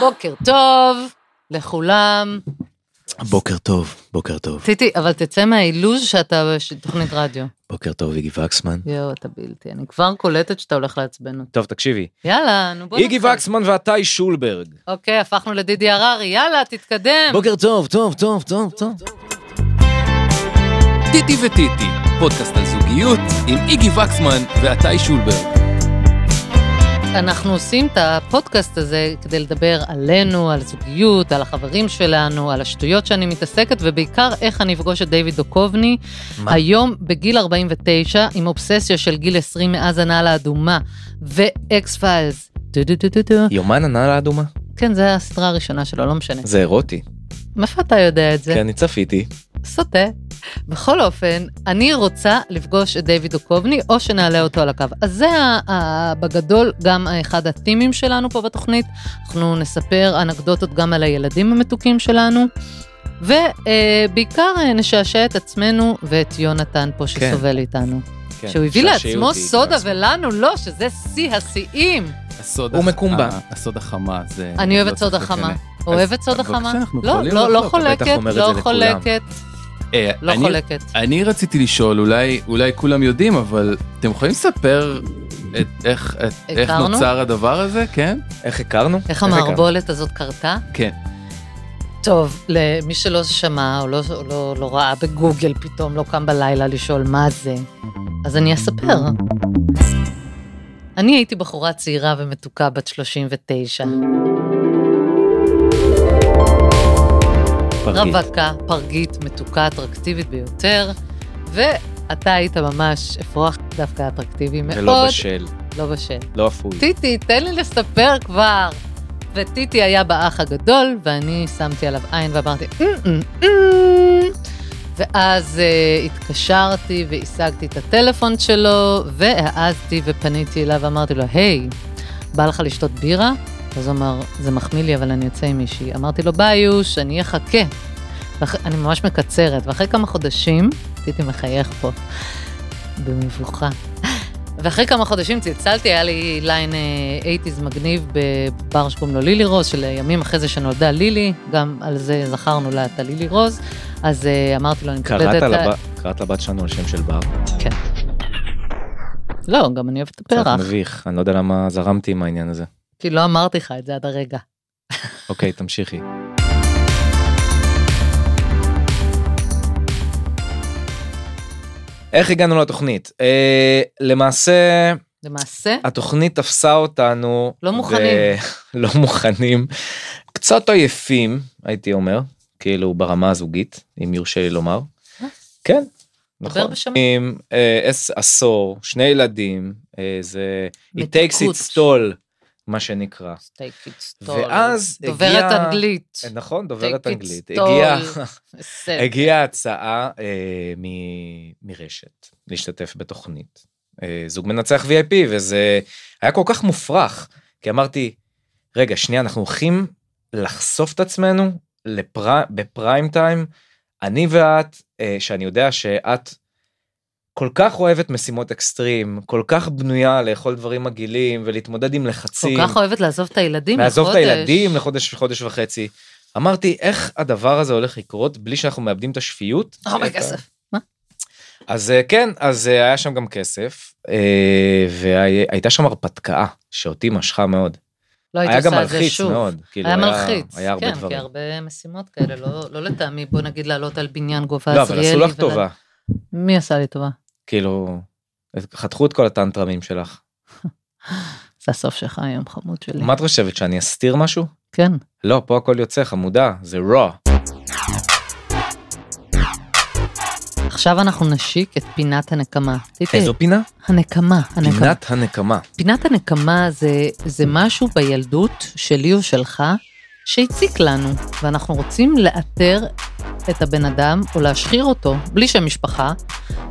בוקר טוב לכולם. בוקר טוב, בוקר טוב. טיטי, אבל תצא מהאילוז שאתה בתוכנית רדיו. בוקר טוב, איגי וקסמן. יואו, אתה בלתי. אני כבר קולטת שאתה הולך לעצבן אותי. טוב, תקשיבי. יאללה, נו בוא איגי נתחיל. וקסמן ועתאי שולברג. אוקיי, הפכנו לדידי הררי, יאללה, תתקדם. בוקר טוב, טוב, טוב, טוב, טוב. טיטי וטיטי, פודקאסט על זוגיות עם איגי וקסמן ועתאי שולברג. אנחנו עושים את הפודקאסט הזה כדי לדבר עלינו, על זוגיות, על החברים שלנו, על השטויות שאני מתעסקת, ובעיקר איך אני אפגוש את דיוויד דוקובני, מה? היום בגיל 49, עם אובססיה של גיל 20 מאז הנעל האדומה, ואקס פיילס. דו דו דו דו דו. יומן הנעל האדומה. כן, זו הסדרה הראשונה שלו, לא משנה. זה אירוטי. מאיפה אתה יודע את זה? כי אני צפיתי. סוטה. בכל אופן, אני רוצה לפגוש את דיוויד דוקובני, או שנעלה אותו על הקו. אז זה ה- ה- בגדול גם אחד הטימים שלנו פה בתוכנית. אנחנו נספר אנקדוטות גם על הילדים המתוקים שלנו, ובעיקר אה, נשעשע את עצמנו ואת יונתן פה כן. שסובל איתנו. כן, שהוא הביא לעצמו סודה ולנו לא, שזה שיא השיאים. הסוד הוא הח- מקומבן. ה- הסוד החמה זה... אני אוהבת לא סודה צריך חמה. לקנא. אוהבת סודה בבקשה, חמה? אנחנו לא, יכולים לא לא לחלוק, חולקת, אתה בטח אומר את לא זה לכולם. חולקת, אה, לא אני- חולקת. אני רציתי לשאול, אולי אולי כולם יודעים, אבל אתם יכולים לספר את- איך- את- איך הכרנו? נוצר הדבר הזה? כן? איך הכרנו? איך המערבולת הזאת קרתה? כן. טוב, למי שלא שמע או לא, או לא, לא ראה בגוגל פתאום, לא קם בלילה לשאול מה זה, אז אני אספר. אני הייתי בחורה צעירה ומתוקה בת 39, פרגית. רווקה, פרגית, מתוקה, אטרקטיבית ביותר, ואתה היית ממש אפרוח דווקא אטרקטיבי מאוד. ולא בשל, לא בשל. לא אפוי. טיטי, תן לי לספר כבר. וטיטי היה באח הגדול, ואני שמתי עליו עין ואמרתי, "אמ, אמ, אמ." ואז אה, התקשרתי והשגתי את הטלפון שלו, והעזתי ופניתי אליו ואמרתי לו, היי, בא לך לשתות בירה? אז הוא אמר, זה מחמיא לי, אבל אני יוצא עם מישהי. אמרתי לו, ביוש, אני אחכה. ואח... אני ממש מקצרת, ואחרי כמה חודשים, טיטי מחייך פה, במבוכה. ואחרי כמה חודשים צלצלתי, היה לי ליין אה, 80's מגניב בבר שקוראים לו לילי רוז, של אה, ימים אחרי זה שנולדה לילי, גם על זה זכרנו לה את הלילי רוז, אז אה, אמרתי לו, אני קראת מקלטת את ה- לבת- קראת לבת שלנו על שם של בר? כן. לא, גם אני אוהבת את קצת הפרח, מביך, אני לא יודע למה זרמתי עם העניין הזה. כי לא אמרתי לך את זה עד הרגע. אוקיי, תמשיכי. איך הגענו לתוכנית? אה, למעשה, למעשה, התוכנית תפסה אותנו. לא ב- מוכנים. לא מוכנים. קצת עייפים, הייתי אומר, כאילו ברמה הזוגית, אם יורשה לי לומר. מה? כן, אה? דבר נכון. בשמיים. עם אה, עש- עשור, שני ילדים, אה, זה... It takes מתיקות. its toll, מה שנקרא. סטייק איטסטול. אה, ואז דוברת הגיעה- אנגלית. נכון, Take דוברת it אנגלית. stall. הגיעה בסדר. הגיעה הצעה אה, מ- מרשת להשתתף בתוכנית. אה, זוג מנצח VIP, וזה היה כל כך מופרך, כי אמרתי, רגע, שנייה, אנחנו הולכים לחשוף את עצמנו לפר... בפריים טיים, אני ואת, אה, שאני יודע שאת כל כך אוהבת משימות אקסטרים, כל כך בנויה לאכול דברים מגעילים ולהתמודד עם כל לחצים. כך אוהבת לעזוב את הילדים לחודש. לעזוב את הילדים לחודש חודש וחצי. אמרתי איך הדבר הזה הולך לקרות בלי שאנחנו מאבדים את השפיות. הרבה את ה- כסף. אז אה, כן אז אה, היה שם גם כסף אה, והייתה שם הרפתקה שאותי משכה מאוד. לא הייתי היה גם עושה את זה מלחיץ שוב. מאוד. כאילו, היה מלחיץ, היה הרבה כן, כי דברים. הרבה משימות כאלה, לא- לא לטעמי, בוא נגיד לעלות על בניין גובה לא עזריאלי. אבל עשו לך ולה- טובה מי עשה לי טובה? כאילו חתכו את כל הטנטרמים שלך. זה הסוף שלך היום, חמוד שלי. מה את חושבת שאני אסתיר משהו? כן. לא פה הכל יוצא חמודה זה raw. עכשיו אנחנו נשיק את פינת הנקמה. טיטי, איזו פינה? הנקמה, הנקמה. פינת הנקמה. פינת הנקמה זה, זה משהו בילדות שלי או שלך שהציק לנו, ואנחנו רוצים לאתר את הבן אדם או להשחיר אותו, בלי שם משפחה,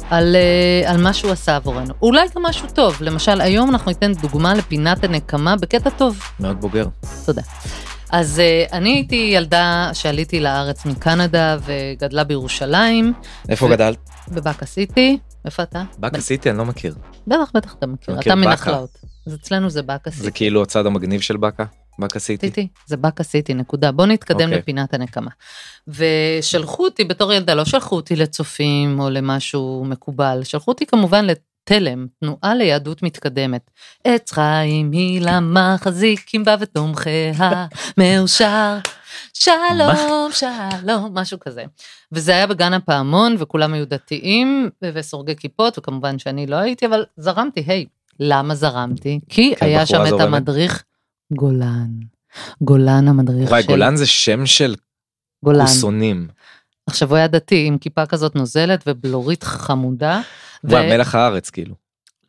על, אה, על מה שהוא עשה עבורנו. אולי גם משהו טוב, למשל היום אנחנו ניתן דוגמה לפינת הנקמה בקטע טוב. מאוד בוגר. תודה. אז אה, אני הייתי ילדה שעליתי לארץ מקנדה וגדלה בירושלים, איפה ו- גדלת? בבאקה סיטי. איפה אתה? באקה סיטי אני לא מכיר. בטח, בטח אתה מכיר, אתה מכיר אתה באקה. מנחלאות. אז אצלנו זה באקה סיטי. זה כאילו הצד המגניב של באקה. מה כסיתי? עשיתי, זה באק עשיתי, נקודה. בוא נתקדם אוקיי. לפינת הנקמה. ושלחו אותי בתור ילדה, לא שלחו אותי לצופים או למשהו מקובל, שלחו אותי כמובן לתלם, תנועה ליהדות מתקדמת. עץ חיים היא למחזיקים בה ותומכיה, מאושר. שלום, שלום, משהו כזה. וזה היה בגן הפעמון, וכולם היו דתיים, ו- וסורגי כיפות, וכמובן שאני לא הייתי, אבל זרמתי, היי, למה זרמתי? כי כן, היה בחורה שם את זורמת. המדריך גולן. גולן המדריך וואי, של גולן זה שם של גולן. כוסונים. עכשיו הוא היה דתי עם כיפה כזאת נוזלת ובלורית חמודה. וואי, מלח כן. הארץ כאילו.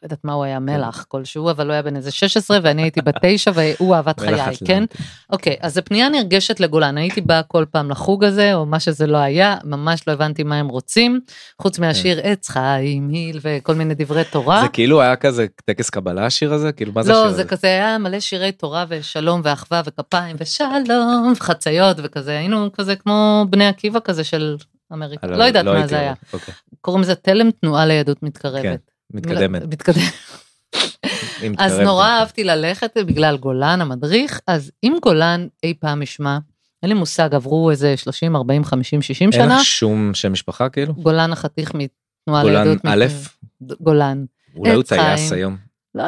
לא יודעת מה הוא היה מלח כלשהו, אבל הוא היה בן איזה 16 ואני הייתי בת 9 והוא אהבת מלח חיי, אטלנטי. כן? אוקיי, אז זו פנייה נרגשת לגולן, הייתי באה כל פעם לחוג הזה, או מה שזה לא היה, ממש לא הבנתי מה הם רוצים, חוץ מהשיר עץ חיים, היל וכל מיני דברי תורה. כן. זה כאילו היה כזה טקס קבלה השיר הזה? כאילו מה זה השיר אה? לא, הזה? זה כזה היה מלא שירי תורה ושלום ואחווה וכפיים ושלום וחציות וכזה, היינו כזה כמו בני עקיבא כזה של אמריקה, אה, לא יודעת מה הייתי זה היה. רואה. אוקיי. קוראים לזה תלם תנועה ליהדות מתקרבת. כן, מתקדמת. כן. לא, מתקדמת. היא מתקרבת. אז נורא אהבתי ללכת בגלל גולן המדריך, אז אם גולן אי פעם ישמע, אין לי מושג, עברו איזה 30, 40, 50, 60 אין שנה, לך שום שם משפחה כאילו? גולן החתיך מתנועה גולן ליהדות. א', מתקרבת. גולן. אולי הוא עץ חיים. טייס היום. לא,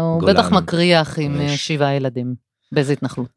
הוא גולן. בטח מקריח עם אה, יש. שבעה ילדים באיזה התנחלות.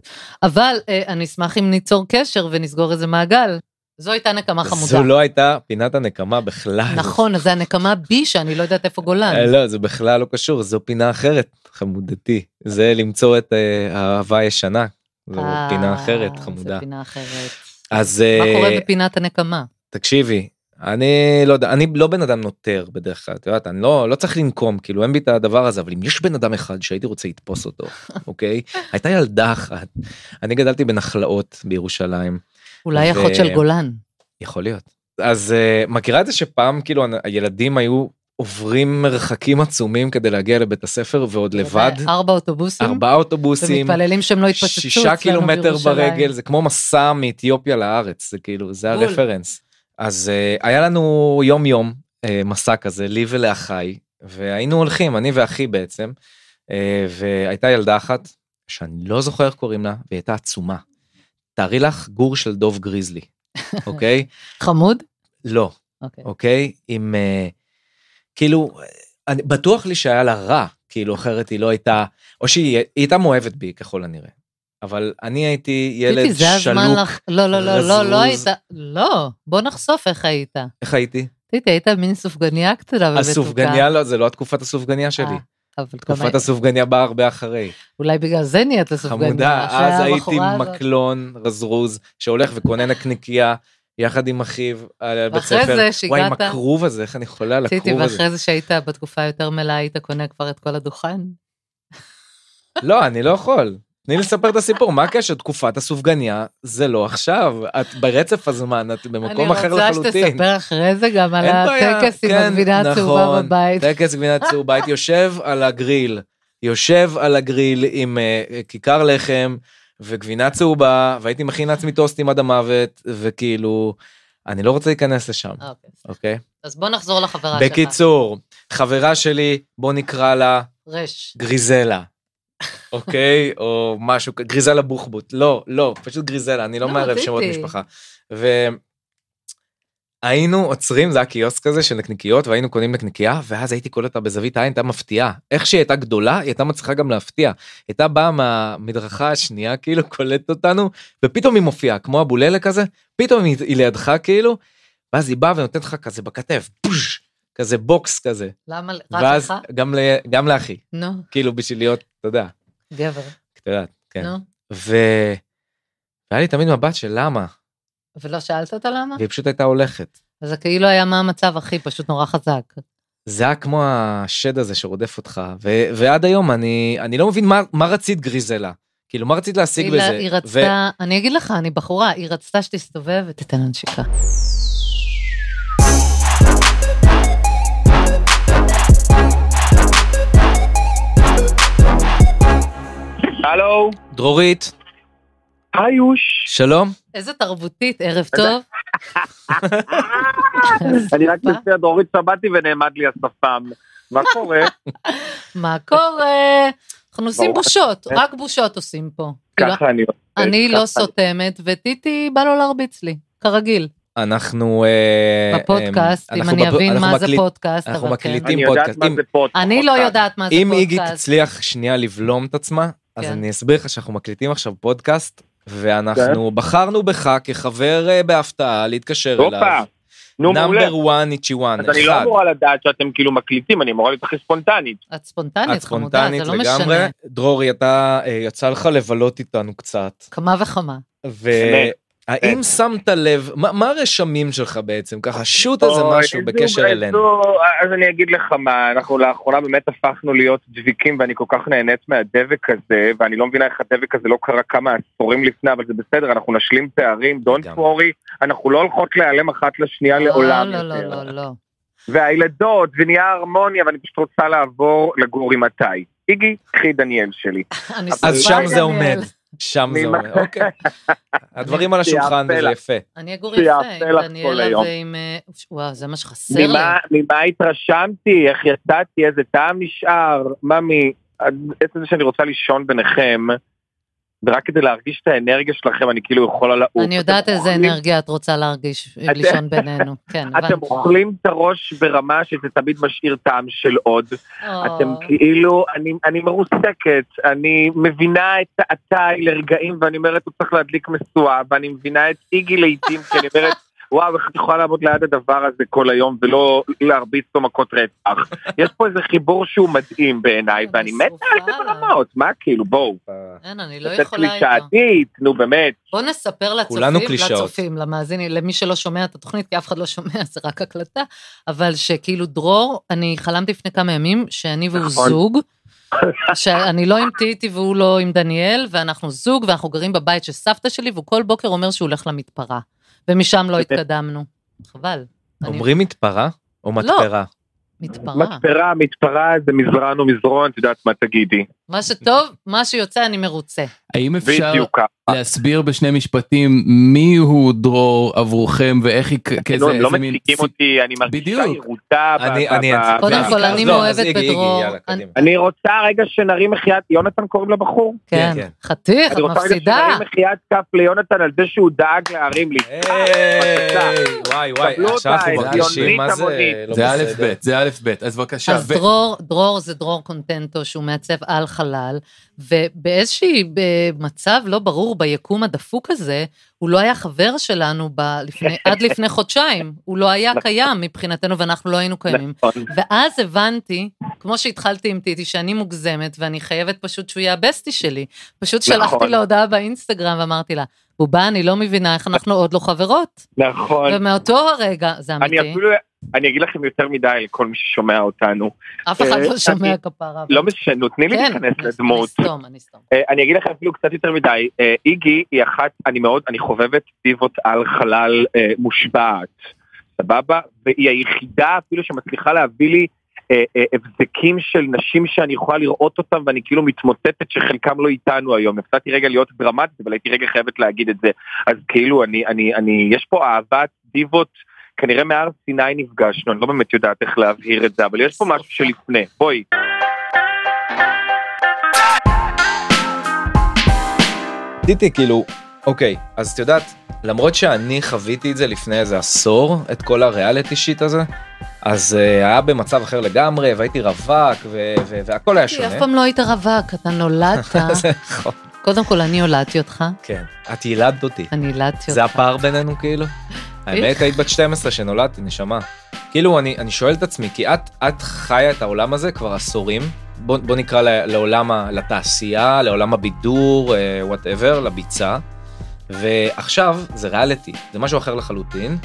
אבל אה, אני אשמח אם ניצור קשר ונסגור איזה מעגל. זו הייתה נקמה חמודה. זו לא הייתה פינת הנקמה בכלל. נכון, אז זה הנקמה בי שאני לא יודעת איפה גולן. אה, לא, זה בכלל לא קשור, זו פינה אחרת, חמודתי. זה למצוא את אה, האהבה הישנה. זו אה, פינה אחרת, זו חמודה. פינה אחרת. אז מה אה, קורה בפינת הנקמה? תקשיבי, אני לא יודע, אני לא בן אדם נותר בדרך כלל, את יודעת, אני לא, לא צריך לנקום, כאילו אין בי את הדבר הזה, אבל אם יש בן אדם אחד שהייתי רוצה לתפוס אותו, אוקיי? הייתה ילדה אחת, אני גדלתי בנחלאות בירושלים, אולי ו- אחות של גולן. יכול להיות. אז uh, מכירה את זה שפעם כאילו הנ- הילדים היו עוברים מרחקים עצומים כדי להגיע לבית הספר ועוד לבד, ארבע אוטובוסים. ארבעה אוטובוסים, ומתפללים שהם לא יתפוצצו אצלנו שישה בירושלים. קילומטר ברגל זה כמו מסע מאתיופיה לארץ זה כאילו זה בול. הרפרנס אז אה, היה לנו יום יום אה, מסע כזה לי ולאחיי והיינו הולכים אני ואחי בעצם אה, והייתה ילדה אחת שאני לא זוכר איך קוראים לה והיא הייתה עצומה. תארי לך גור של דוב גריזלי אוקיי חמוד? לא אוקיי. אוקיי? עם... אה, כאילו, אה, אני, בטוח לי שהיה לה רע, כאילו, אחרת היא לא הייתה... או שהיא היא הייתה מאוהבת בי, ככל הנראה. אבל אני הייתי ילד פיפי, זה הזמן שלוק. לך- לא, לא, לא, לא, לא רזרוז. היית... לא, בוא נחשוף איך היית. איך לא הייתי? טיטי, היית מין סופגניה קטנה ובתוקה. הסופגניה, לא, זה לא התקופת הסופגניה שלי. אה, אבל גם תקופת היית- הסופגניה באה הרבה אחרי. אולי בגלל זה נהיית לסופגניה. חמודה, אחרי אז הייתי הבחורה הזאת. מקלון רזרוז, שהולך וקונה נקניקייה. יחד עם אחיו על בית ואחרי ספר. זה שהגעת- וואי, עם הכרוב הזה, איך אני חולה על טיטי, הכרוב הזה. ואחרי זה שהיית בתקופה היותר מלאה, היית קונה כבר את כל הדוכן? לא, אני לא יכול. תני לי לספר את הסיפור, מה הקשר? תקופת הסופגניה זה לא עכשיו, את ברצף הזמן, את במקום אחר אני רוצה לחלוטין. שתספר אחרי זה גם על אין בעיה, הטקס עם כן, הגבינה הצהובה נכון. בבית. טקס גבינה צהובה, הייתי יושב על הגריל, יושב על הגריל עם אה, אה, כיכר לחם וגבינה צהובה, והייתי מכין לעצמי טוסטים עד המוות, וכאילו, אני לא רוצה להיכנס לשם, אוקיי. אוקיי? אז בוא נחזור לחברה שלך. בקיצור, חברה שלי, בוא נקרא לה רש. גריזלה. אוקיי? או משהו, כ- גריזלה בוחבוט. לא, לא, פשוט גריזלה, אני לא לא, מערב רציתי. שמות משפחה. והיינו עוצרים, זה היה קיוסק כזה של נקניקיות, והיינו קונים נקניקייה, ואז הייתי קולט אותה בזווית העין, הייתה מפתיעה. איך שהיא הייתה גדולה, היא הייתה מצליחה גם להפתיע. הייתה באה מהמדרכה השנייה, כאילו קולטת אותנו, ופתאום היא מופיעה, כמו אבוללה כזה, פתאום היא, היא לידך כאילו, ואז היא באה ונותנת לך כזה בכתף, פוש, כזה בוקס כזה. למה? רק ואז לך? גם, ל, גם לאחי. נו, כאילו בשביל להיות, אתה יודע, גבר. את יודעת, כן. נו. ו... והיה לי תמיד מבט של למה, ולא שאלת אותה למה? והיא פשוט הייתה הולכת. אז זה כאילו היה מה המצב, אחי, פשוט נורא חזק. זה היה כמו השד הזה שרודף אותך, ו... ועד היום אני, אני לא מבין מה, מה רצית גריזלה. כאילו, מה רצית להשיג היא, בזה? לה- היא רצתה, אני אגיד לך, אני בחורה, היא רצתה שתסתובב ותיתן לה נשיקה. הלו, דרורית, היוש. שלום. איזה תרבותית, ערב טוב. אני רק מה? בסדר, דורית שבתי ונעמד לי השפם. מה קורה? מה קורה? אנחנו עושים ברור. אה. בושות, רק בושות עושים פה. כאילו, ככה אני... אני לא ככה. סותמת, וטיטי בא לו להרביץ לי, כרגיל, אנחנו... אה, בפודקאסט, אה, אם אנחנו אני בפ- אבין אנחנו מה זה מקליט- פודקאסט, אנחנו אבל כן. מקליטים אני יודעת פודקאסט. מה אם- זה פוד- פודקאסט. אני לא יודעת מה זה אם איגי פודקאסט. תצליח שנייה לבלום את עצמה, אז כן. אני אסביר לך שאנחנו מקליטים עכשיו פודקאסט, ואנחנו בחרנו בך כחבר אה, בהפתעה להתקשר הופה. אליו. נו, מעולה. נאמבר 1 איצ'י 1, אז אני לא אמורה לדעת שאתם כאילו מקליטים, אני אמורה להיות הכי ספונטנית. את ספונטנית, את חמודה, ספונטנית זה לא לגמרי. משנה. דרורי, אתה, אה, יצא לך לבלות איתנו קצת, כמה וכמה. באמת. והאם שמת לב, מה מה הרשמים שלך בעצם? ככה שוט איזה אוי, משהו איזה בקשר זוג, אלינו. איזה- אז אני אגיד לך מה, אנחנו לאחרונה באמת הפכנו להיות דביקים, ואני כל כך נהנית מהדבק הזה, ואני לא מבינה איך הדבק הזה לא קרה כמה עשורים לפני, אבל זה בסדר, אנחנו נשלים פערים, don't לגמרי. worry, אנחנו לא הולכות להיעלם אחת לשנייה לעולם לא, לא, יותר. לא, לא, לא. והילדות, ונהיה הרמוניה, ואני פשוט רוצה לעבור לגור עם מתי. איגי, קחי דניאל שלי. אני אז סבבה, שם זה דניאל. עומד, שם זה ממה- עומד, אוקיי. הדברים על שיעפה השולחן וזה לך. יפה. אני אגור שיעשה יפה עם לך כל דניאלה היום. ועם... אה, וואו, זה לא- מה שחסר לי. ממה, ממה התרשמתי, איך יצאתי, איזה טעם נשאר, ממי, עצם זה שאני רוצה לישון ביניכם, ורק כדי להרגיש את האנרגיה שלכם, אני כאילו יכולה לעוף. אני יודעת אתם איזה אוכלים- אנרגיה את רוצה להרגיש, אתם- לישון בינינו. כן, אתם הבנתי. אוכלים את הראש ברמה שזה תמיד משאיר טעם של עוד. או, אתם כאילו, אני, אני מרוסקת, אני מבינה את עתיי לרגעים ואני אומרת, הוא צריך להדליק משואה, ואני מבינה את איגי לעיתים, כי אני אומרת, וואו, איך את יכולה לעמוד ליד הדבר הזה כל היום ולא להרביץ לו מכות רצח. יש פה איזה חיבור שהוא מדהים בעיניי, אני ואני מתה על זה שרופה עליו. ברמות, מה כאילו, בואו. אין, אני לא קצת יכולה איתו. קלישאתית, נו באמת. בוא נספר כולנו לצופים, קלישאות. לצופים, למאזינים, למי שלא שומע את התוכנית, כי אף אחד לא שומע, זה רק הקלטה, אבל שכאילו דרור, אני חלמתי לפני כמה ימים שאני והוא נכון. זוג, שאני לא עם טיטי והוא לא עם דניאל, ואנחנו זוג, ואנחנו גרים בבית של סבתא שלי, והוא כל בוקר אומר שהוא הולך למתפרה, ומשם לא אוקיי. התקדמנו. חבל. אני- אומרים מתפרה או לא. מתפרה? מתפרה. מתפרה, מתפרה, זה מזרן ומזרון, את יודעת מה תגידי. מה שטוב, מה שיוצא אני מרוצה. האם אפשר בדיוק ככה. להסביר בשני משפטים מיהו דרור עבורכם ואיך היא כ- לא, כזה הם לא איזה מין מציגים סיפ- אותי, אני מרגישה בדיוק. ירודה. ב- אני- ב- אני ב- אעצבן. קודם אז- כל, אז אני לא, אז מאוהבת איגי, איגי, בדרור. יאללה, אני- קדימה. אני רוצה רגע שנרים מחיית, יונתן קוראים לבחור? כן, כן. חתיך, את אני רוצה רגע מפסידה. שנרים מחיית כף ליונתן על זה שהוא דאג להרים לי. אה. אה, היי, וואי וואי, קבלו עכשיו אותה, אנחנו הגיונית, מרגישים מה זה המונית. לא זה א' בסדר. ב', זה א' ב', אז בבקשה. אז ו- דרור, דרור זה דרור קונטנטו שהוא מעצב על חלל, ובאיזשהי אה, מצב לא ברור ביקום הדפוק הזה, הוא לא היה חבר שלנו ב- לפני, עד לפני חודשיים, הוא לא היה קיים מבחינתנו ואנחנו לא היינו קיימים. נכון. ואז הבנתי, כמו שהתחלתי עם טיטי, שאני מוגזמת ואני חייבת פשוט שהוא יהיה הבסטי שלי. פשוט נכון. שלחתי לה הודעה באינסטגרם ואמרתי לה, בובה, אני לא מבינה איך אנחנו עוד לא חברות. נכון. ומאותו הרגע, זה אני אמיתי, אפילו, אני אגיד לכם יותר מדי לכל מי ששומע אותנו. אף אחד לא אה, שומע אני- כפרה. לא משנה, תני לי כן, להיכנס אני- לדמות. אני אסתום, אני אסתום. אה, אני אגיד לכם אפילו קצת יותר מדי, אה, איגי היא אחת, אני מאוד, אני חובבת פיבוט על חלל אה, מושבעת, סבבה? והיא היחידה אפילו שמצליחה להביא לי אה, אה, הבזקים של נשים שאני יכולה לראות אותם ואני כאילו מתמוטטת שחלקם לא איתנו היום. הפסדתי רגע להיות דרמטית, אבל הייתי רגע חייבת להגיד את זה. אז כאילו, אני, אני, אני, יש פה אהבת דיבות. כנראה מהר סיני נפגשנו, אני לא באמת יודעת איך להבהיר את זה, אבל יש פה משהו שלפני, בואי. טיטי, כאילו, אוקיי, אז את יודעת, למרות שאני חוויתי את זה לפני איזה עשור, את כל הריאליטי שיט הזה, אז אה, היה במצב אחר לגמרי, והייתי רווק, ו- ו- והכל היה כי שונה. אף פעם לא היית רווק, אתה נולדת. זה נכון. קודם כל, אני הולדתי אותך, כן, את יילדת אותי. אני הילדתי אותך. זה הפער בינינו כאילו? האמת היית בת 12 שנולדתי, נשמה. כאילו אני, אני שואל את עצמי, כי את, את חיה את העולם הזה כבר עשורים, בוא, בוא נקרא ל- לעולם, ה- לתעשייה, לעולם הבידור, וואטאבר, לביצה, ועכשיו זה ריאליטי, זה משהו אחר לחלוטין.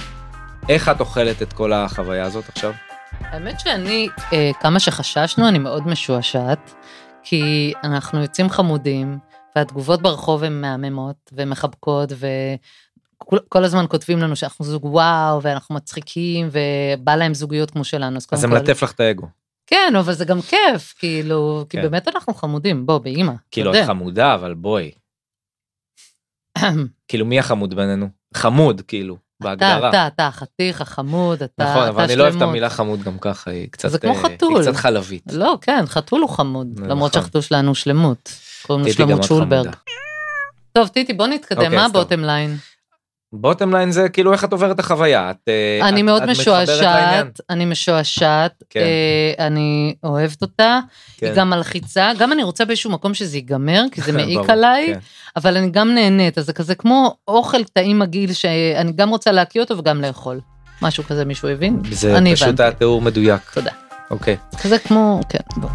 איך את אוכלת את כל החוויה הזאת עכשיו? האמת שאני, אה, כמה שחששנו, אני מאוד משועשעת, כי אנחנו יוצאים חמודים, והתגובות ברחוב הן מהממות ומחבקות, וכל כל הזמן כותבים לנו שאנחנו זוג וואו, ואנחנו מצחיקים, ובא להם זוגיות כמו שלנו, אז קודם אז זה כל... מלטף לך את האגו. כן, אבל זה גם כיף, כאילו, כי כן. באמת אנחנו חמודים, בוא, באימא. אתה כאילו, יודע. את חמודה, אבל בואי. כאילו, מי החמוד בינינו? חמוד, כאילו. בהגדרה. אתה, אתה, אתה החתיך, החמוד, אתה, נכון, אתה אבל אני לא אוהב את שלמות. המילה חמוד גם ככה, היא קצת... זה כמו אה, חתול. היא קצת חלבית. לא, כן, חתול הוא חמוד, נכון. למרות שהחתול שלנו הוא שלמות. קוראים לו טיטי גם שלמות את לא שולברג. חמודה. טוב, טיטי, בוא נתקדם, אוקיי, מה סתם. הבוטם ליין? בוטם ליין זה כאילו איך את עוברת את החוויה. את, אה, אני את- מאוד את מתחברת לעניין. משועשעת, אני משועשעת, כן. אה, אני אוהבת אותה, היא כן. גם מלחיצה, גם אני רוצה באיזשהו מקום שזה ייגמר, כי זה מעיק ברור, עליי, כן. אבל אני גם נהנית, אז זה כזה כמו אוכל טעים מגעיל שאני גם רוצה להקיא אותו וגם לאכול. משהו כזה מישהו הבין? זה אני פשוט הבנתי. התיאור מדויק. תודה. אוקיי. כזה כמו, כן, בוא.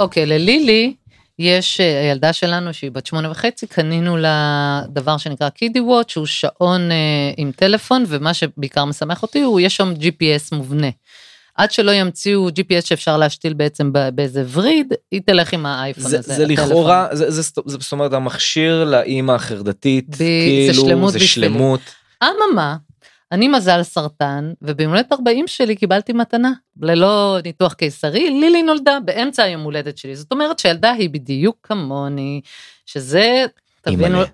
אוקיי, ללילי יש אה, הילדה שלנו שהיא בת שמונה וחצי, קנינו לה דבר שנקרא קידי וואט, שהוא שעון אה, עם טלפון, ומה שבעיקר משמח אותי הוא, יש שם GPS מובנה. עד שלא ימציאו GPS שאפשר להשתיל בעצם ב- באיזה וריד, היא תלך עם האייפון זה, הזה. זה הטלפון. לכאורה, זה, זה, סט- זה, זאת אומרת, המכשיר לאימא החרדתית, ב- זה כאילו, שלמות זה בשבילי. שלמות. אממה, אני מזל סרטן, וביומולדת 40 שלי קיבלתי מתנה. ללא ניתוח קיסרי, לילי נולדה באמצע היום הולדת שלי. זאת אומרת שהילדה היא בדיוק כמוני, שזה, תבינו... אימא'לה.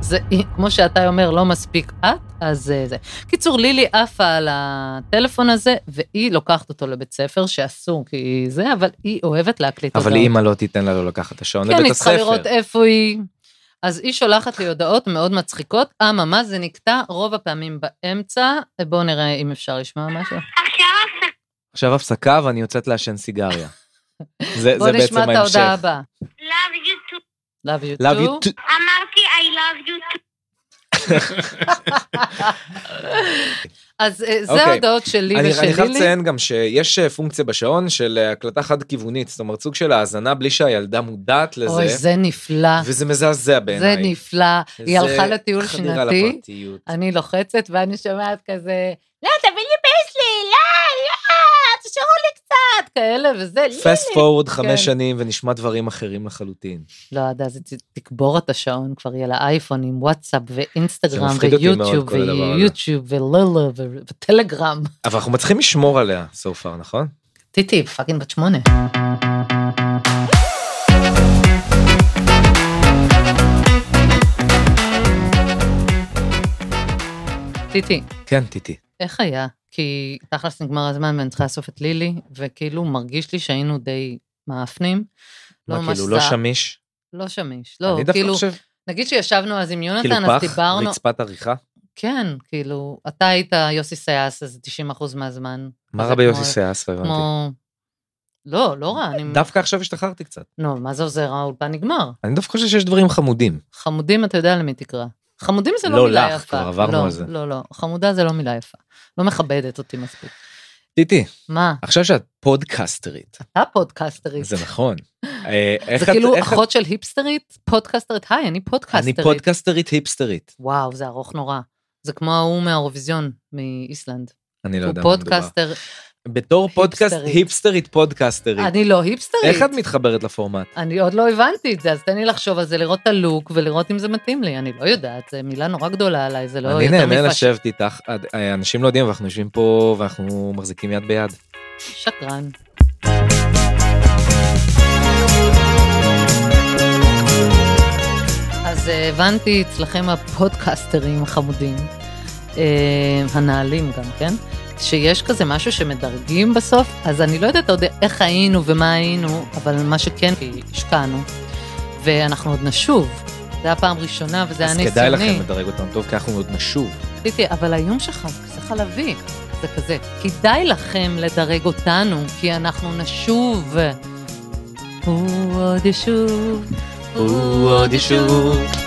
זה, כמו שאתה אומר, לא מספיק את, אז אה, זה. קיצור, לילי עפה על הטלפון הזה, והיא לוקחת אותו לבית ספר, שאסור כי זה, אבל היא אוהבת להקליט אבל הודעות. אימא לא תיתן לה לא לקחת את השעון כן, לבית היא צריכה הספר. לראות איפה היא. אז היא שולחת לי הודעות מאוד מצחיקות, אממה זה נקטע רוב הפעמים באמצע, בואו נראה אם אפשר לשמוע משהו. עכשיו הפסקה ואני יוצאת לעשן סיגריה. זה, בואו זה נשמע בעצם את ההודעה ההמשך. הבאה. Love you too. Love you Love you too. too. אמרתי I love you too. אז אה, זה אוקיי. ההודעות שלי אני, ושל אני חייב לילי. לציין גם שיש אה, פונקציה בשעון של אה, הקלטה חד-כיוונית, זאת אומרת סוג של האזנה בלי שהילדה מודעת לזה, אוי, זה נפלא, וזה מזעזע בעיניי. זה נפלא. היא זה הלכה לטיול חדירה שנתי, אה, לפרטיות. אני לוחצת ואני שומעת כזה, לא, תביא לי פייסלי, לא, לא, תשארו לי קצת, כאלה וזה, "לא, פסט פורוד חמש כן. שנים ונשמע דברים אחרים לחלוטין. לא, עד אז היא תקבור את השעון, כבר יהיה לה אייפון עם וואטסאפ זה ואינסטגרם מפחיד אותי מאוד, ויוטיוב כל הדבר הזה. ויוטיוב ולולו ו- וטלגרם. אבל אנחנו מצליחים לשמור עליה so far, נכון? טיטי, פאקינג בת שמונה. טיטי, כן, טיטי. איך היה? כי תכלס נגמר הזמן ואני צריכה לאסוף את לילי, וכאילו מרגיש לי שהיינו די מאפנים. מה, ממש כאילו, לא זע- שמיש? לא שמיש, לא, אני דווקא כאילו, חושב, נגיד שישבנו אז עם כאילו יונתן, אז פח, דיברנו, רצפת עריכה. כן, כאילו, אתה היית יוסי סייס, אז 90% מהזמן. מה אז רע זה ביוסי כמו- סייס, לא הבנתי. כמו... לא, לא רע, אני... דווקא עכשיו השתחררתי קצת. נו, מה זה עוזר? האולפן נגמר. אני דווקא חושב שיש דברים חמודים. חמודים, אתה יודע למי תקרא. חמודים זה לא, לא מילה לך, יפה. כבר עברנו לא, על זה. לא, לא, חמודה זה לא מילה יפה. לא מכבדת אותי מספיק. טיטי, מה, עכשיו שאת פודקסטרית, אתה פודקסטרית. אה. זה נכון. אה, איך זה את- כאילו איך את- אחות של היפסטרית, פודקסטרית, היי, אני אני פודקסטרית. פודקסטרית היפסטרית. וואו, זה ארוך נורא. זה כמו ההוא מהאירוויזיון מאיסלנד. אני לא הוא יודע מה מדובר. פודקסטר. בתור פודקאסט היפסטרית. היפסטרית פודקסטרית. אני לא היפסטרית. איך את מתחברת לפורמט? אני עוד לא הבנתי את זה, אז תן לי לחשוב על זה, לראות את הלוק ולראות אם זה מתאים לי. אני לא יודעת, זו מילה נורא גדולה עליי, זה לא אני יותר נהנה מפאש- לשבת איתך, עד- אה, אנשים לא יודעים, אבל אנחנו יושבים פה ואנחנו מחזיקים יד ביד. שקרן. אז אה, הבנתי אצלכם הפודקסטרים החמודים, אה, הנעלים גם, כן? שיש כזה משהו שמדרגים בסוף, אז אני לא יודעת עוד איך היינו ומה היינו, אבל מה שכן, כי השקענו, ואנחנו עוד נשוב. זה היה פעם ראשונה וזה היה אז ניסיוני. כדאי לכם לדרג אותנו טוב, כי אנחנו עוד נשוב. טיטי, אבל האיום שלך זה כזה חלבי. זה כזה, כדאי לכם לדרג אותנו, כי אנחנו נשוב. הוא עוד ישוב, הוא עוד ישוב,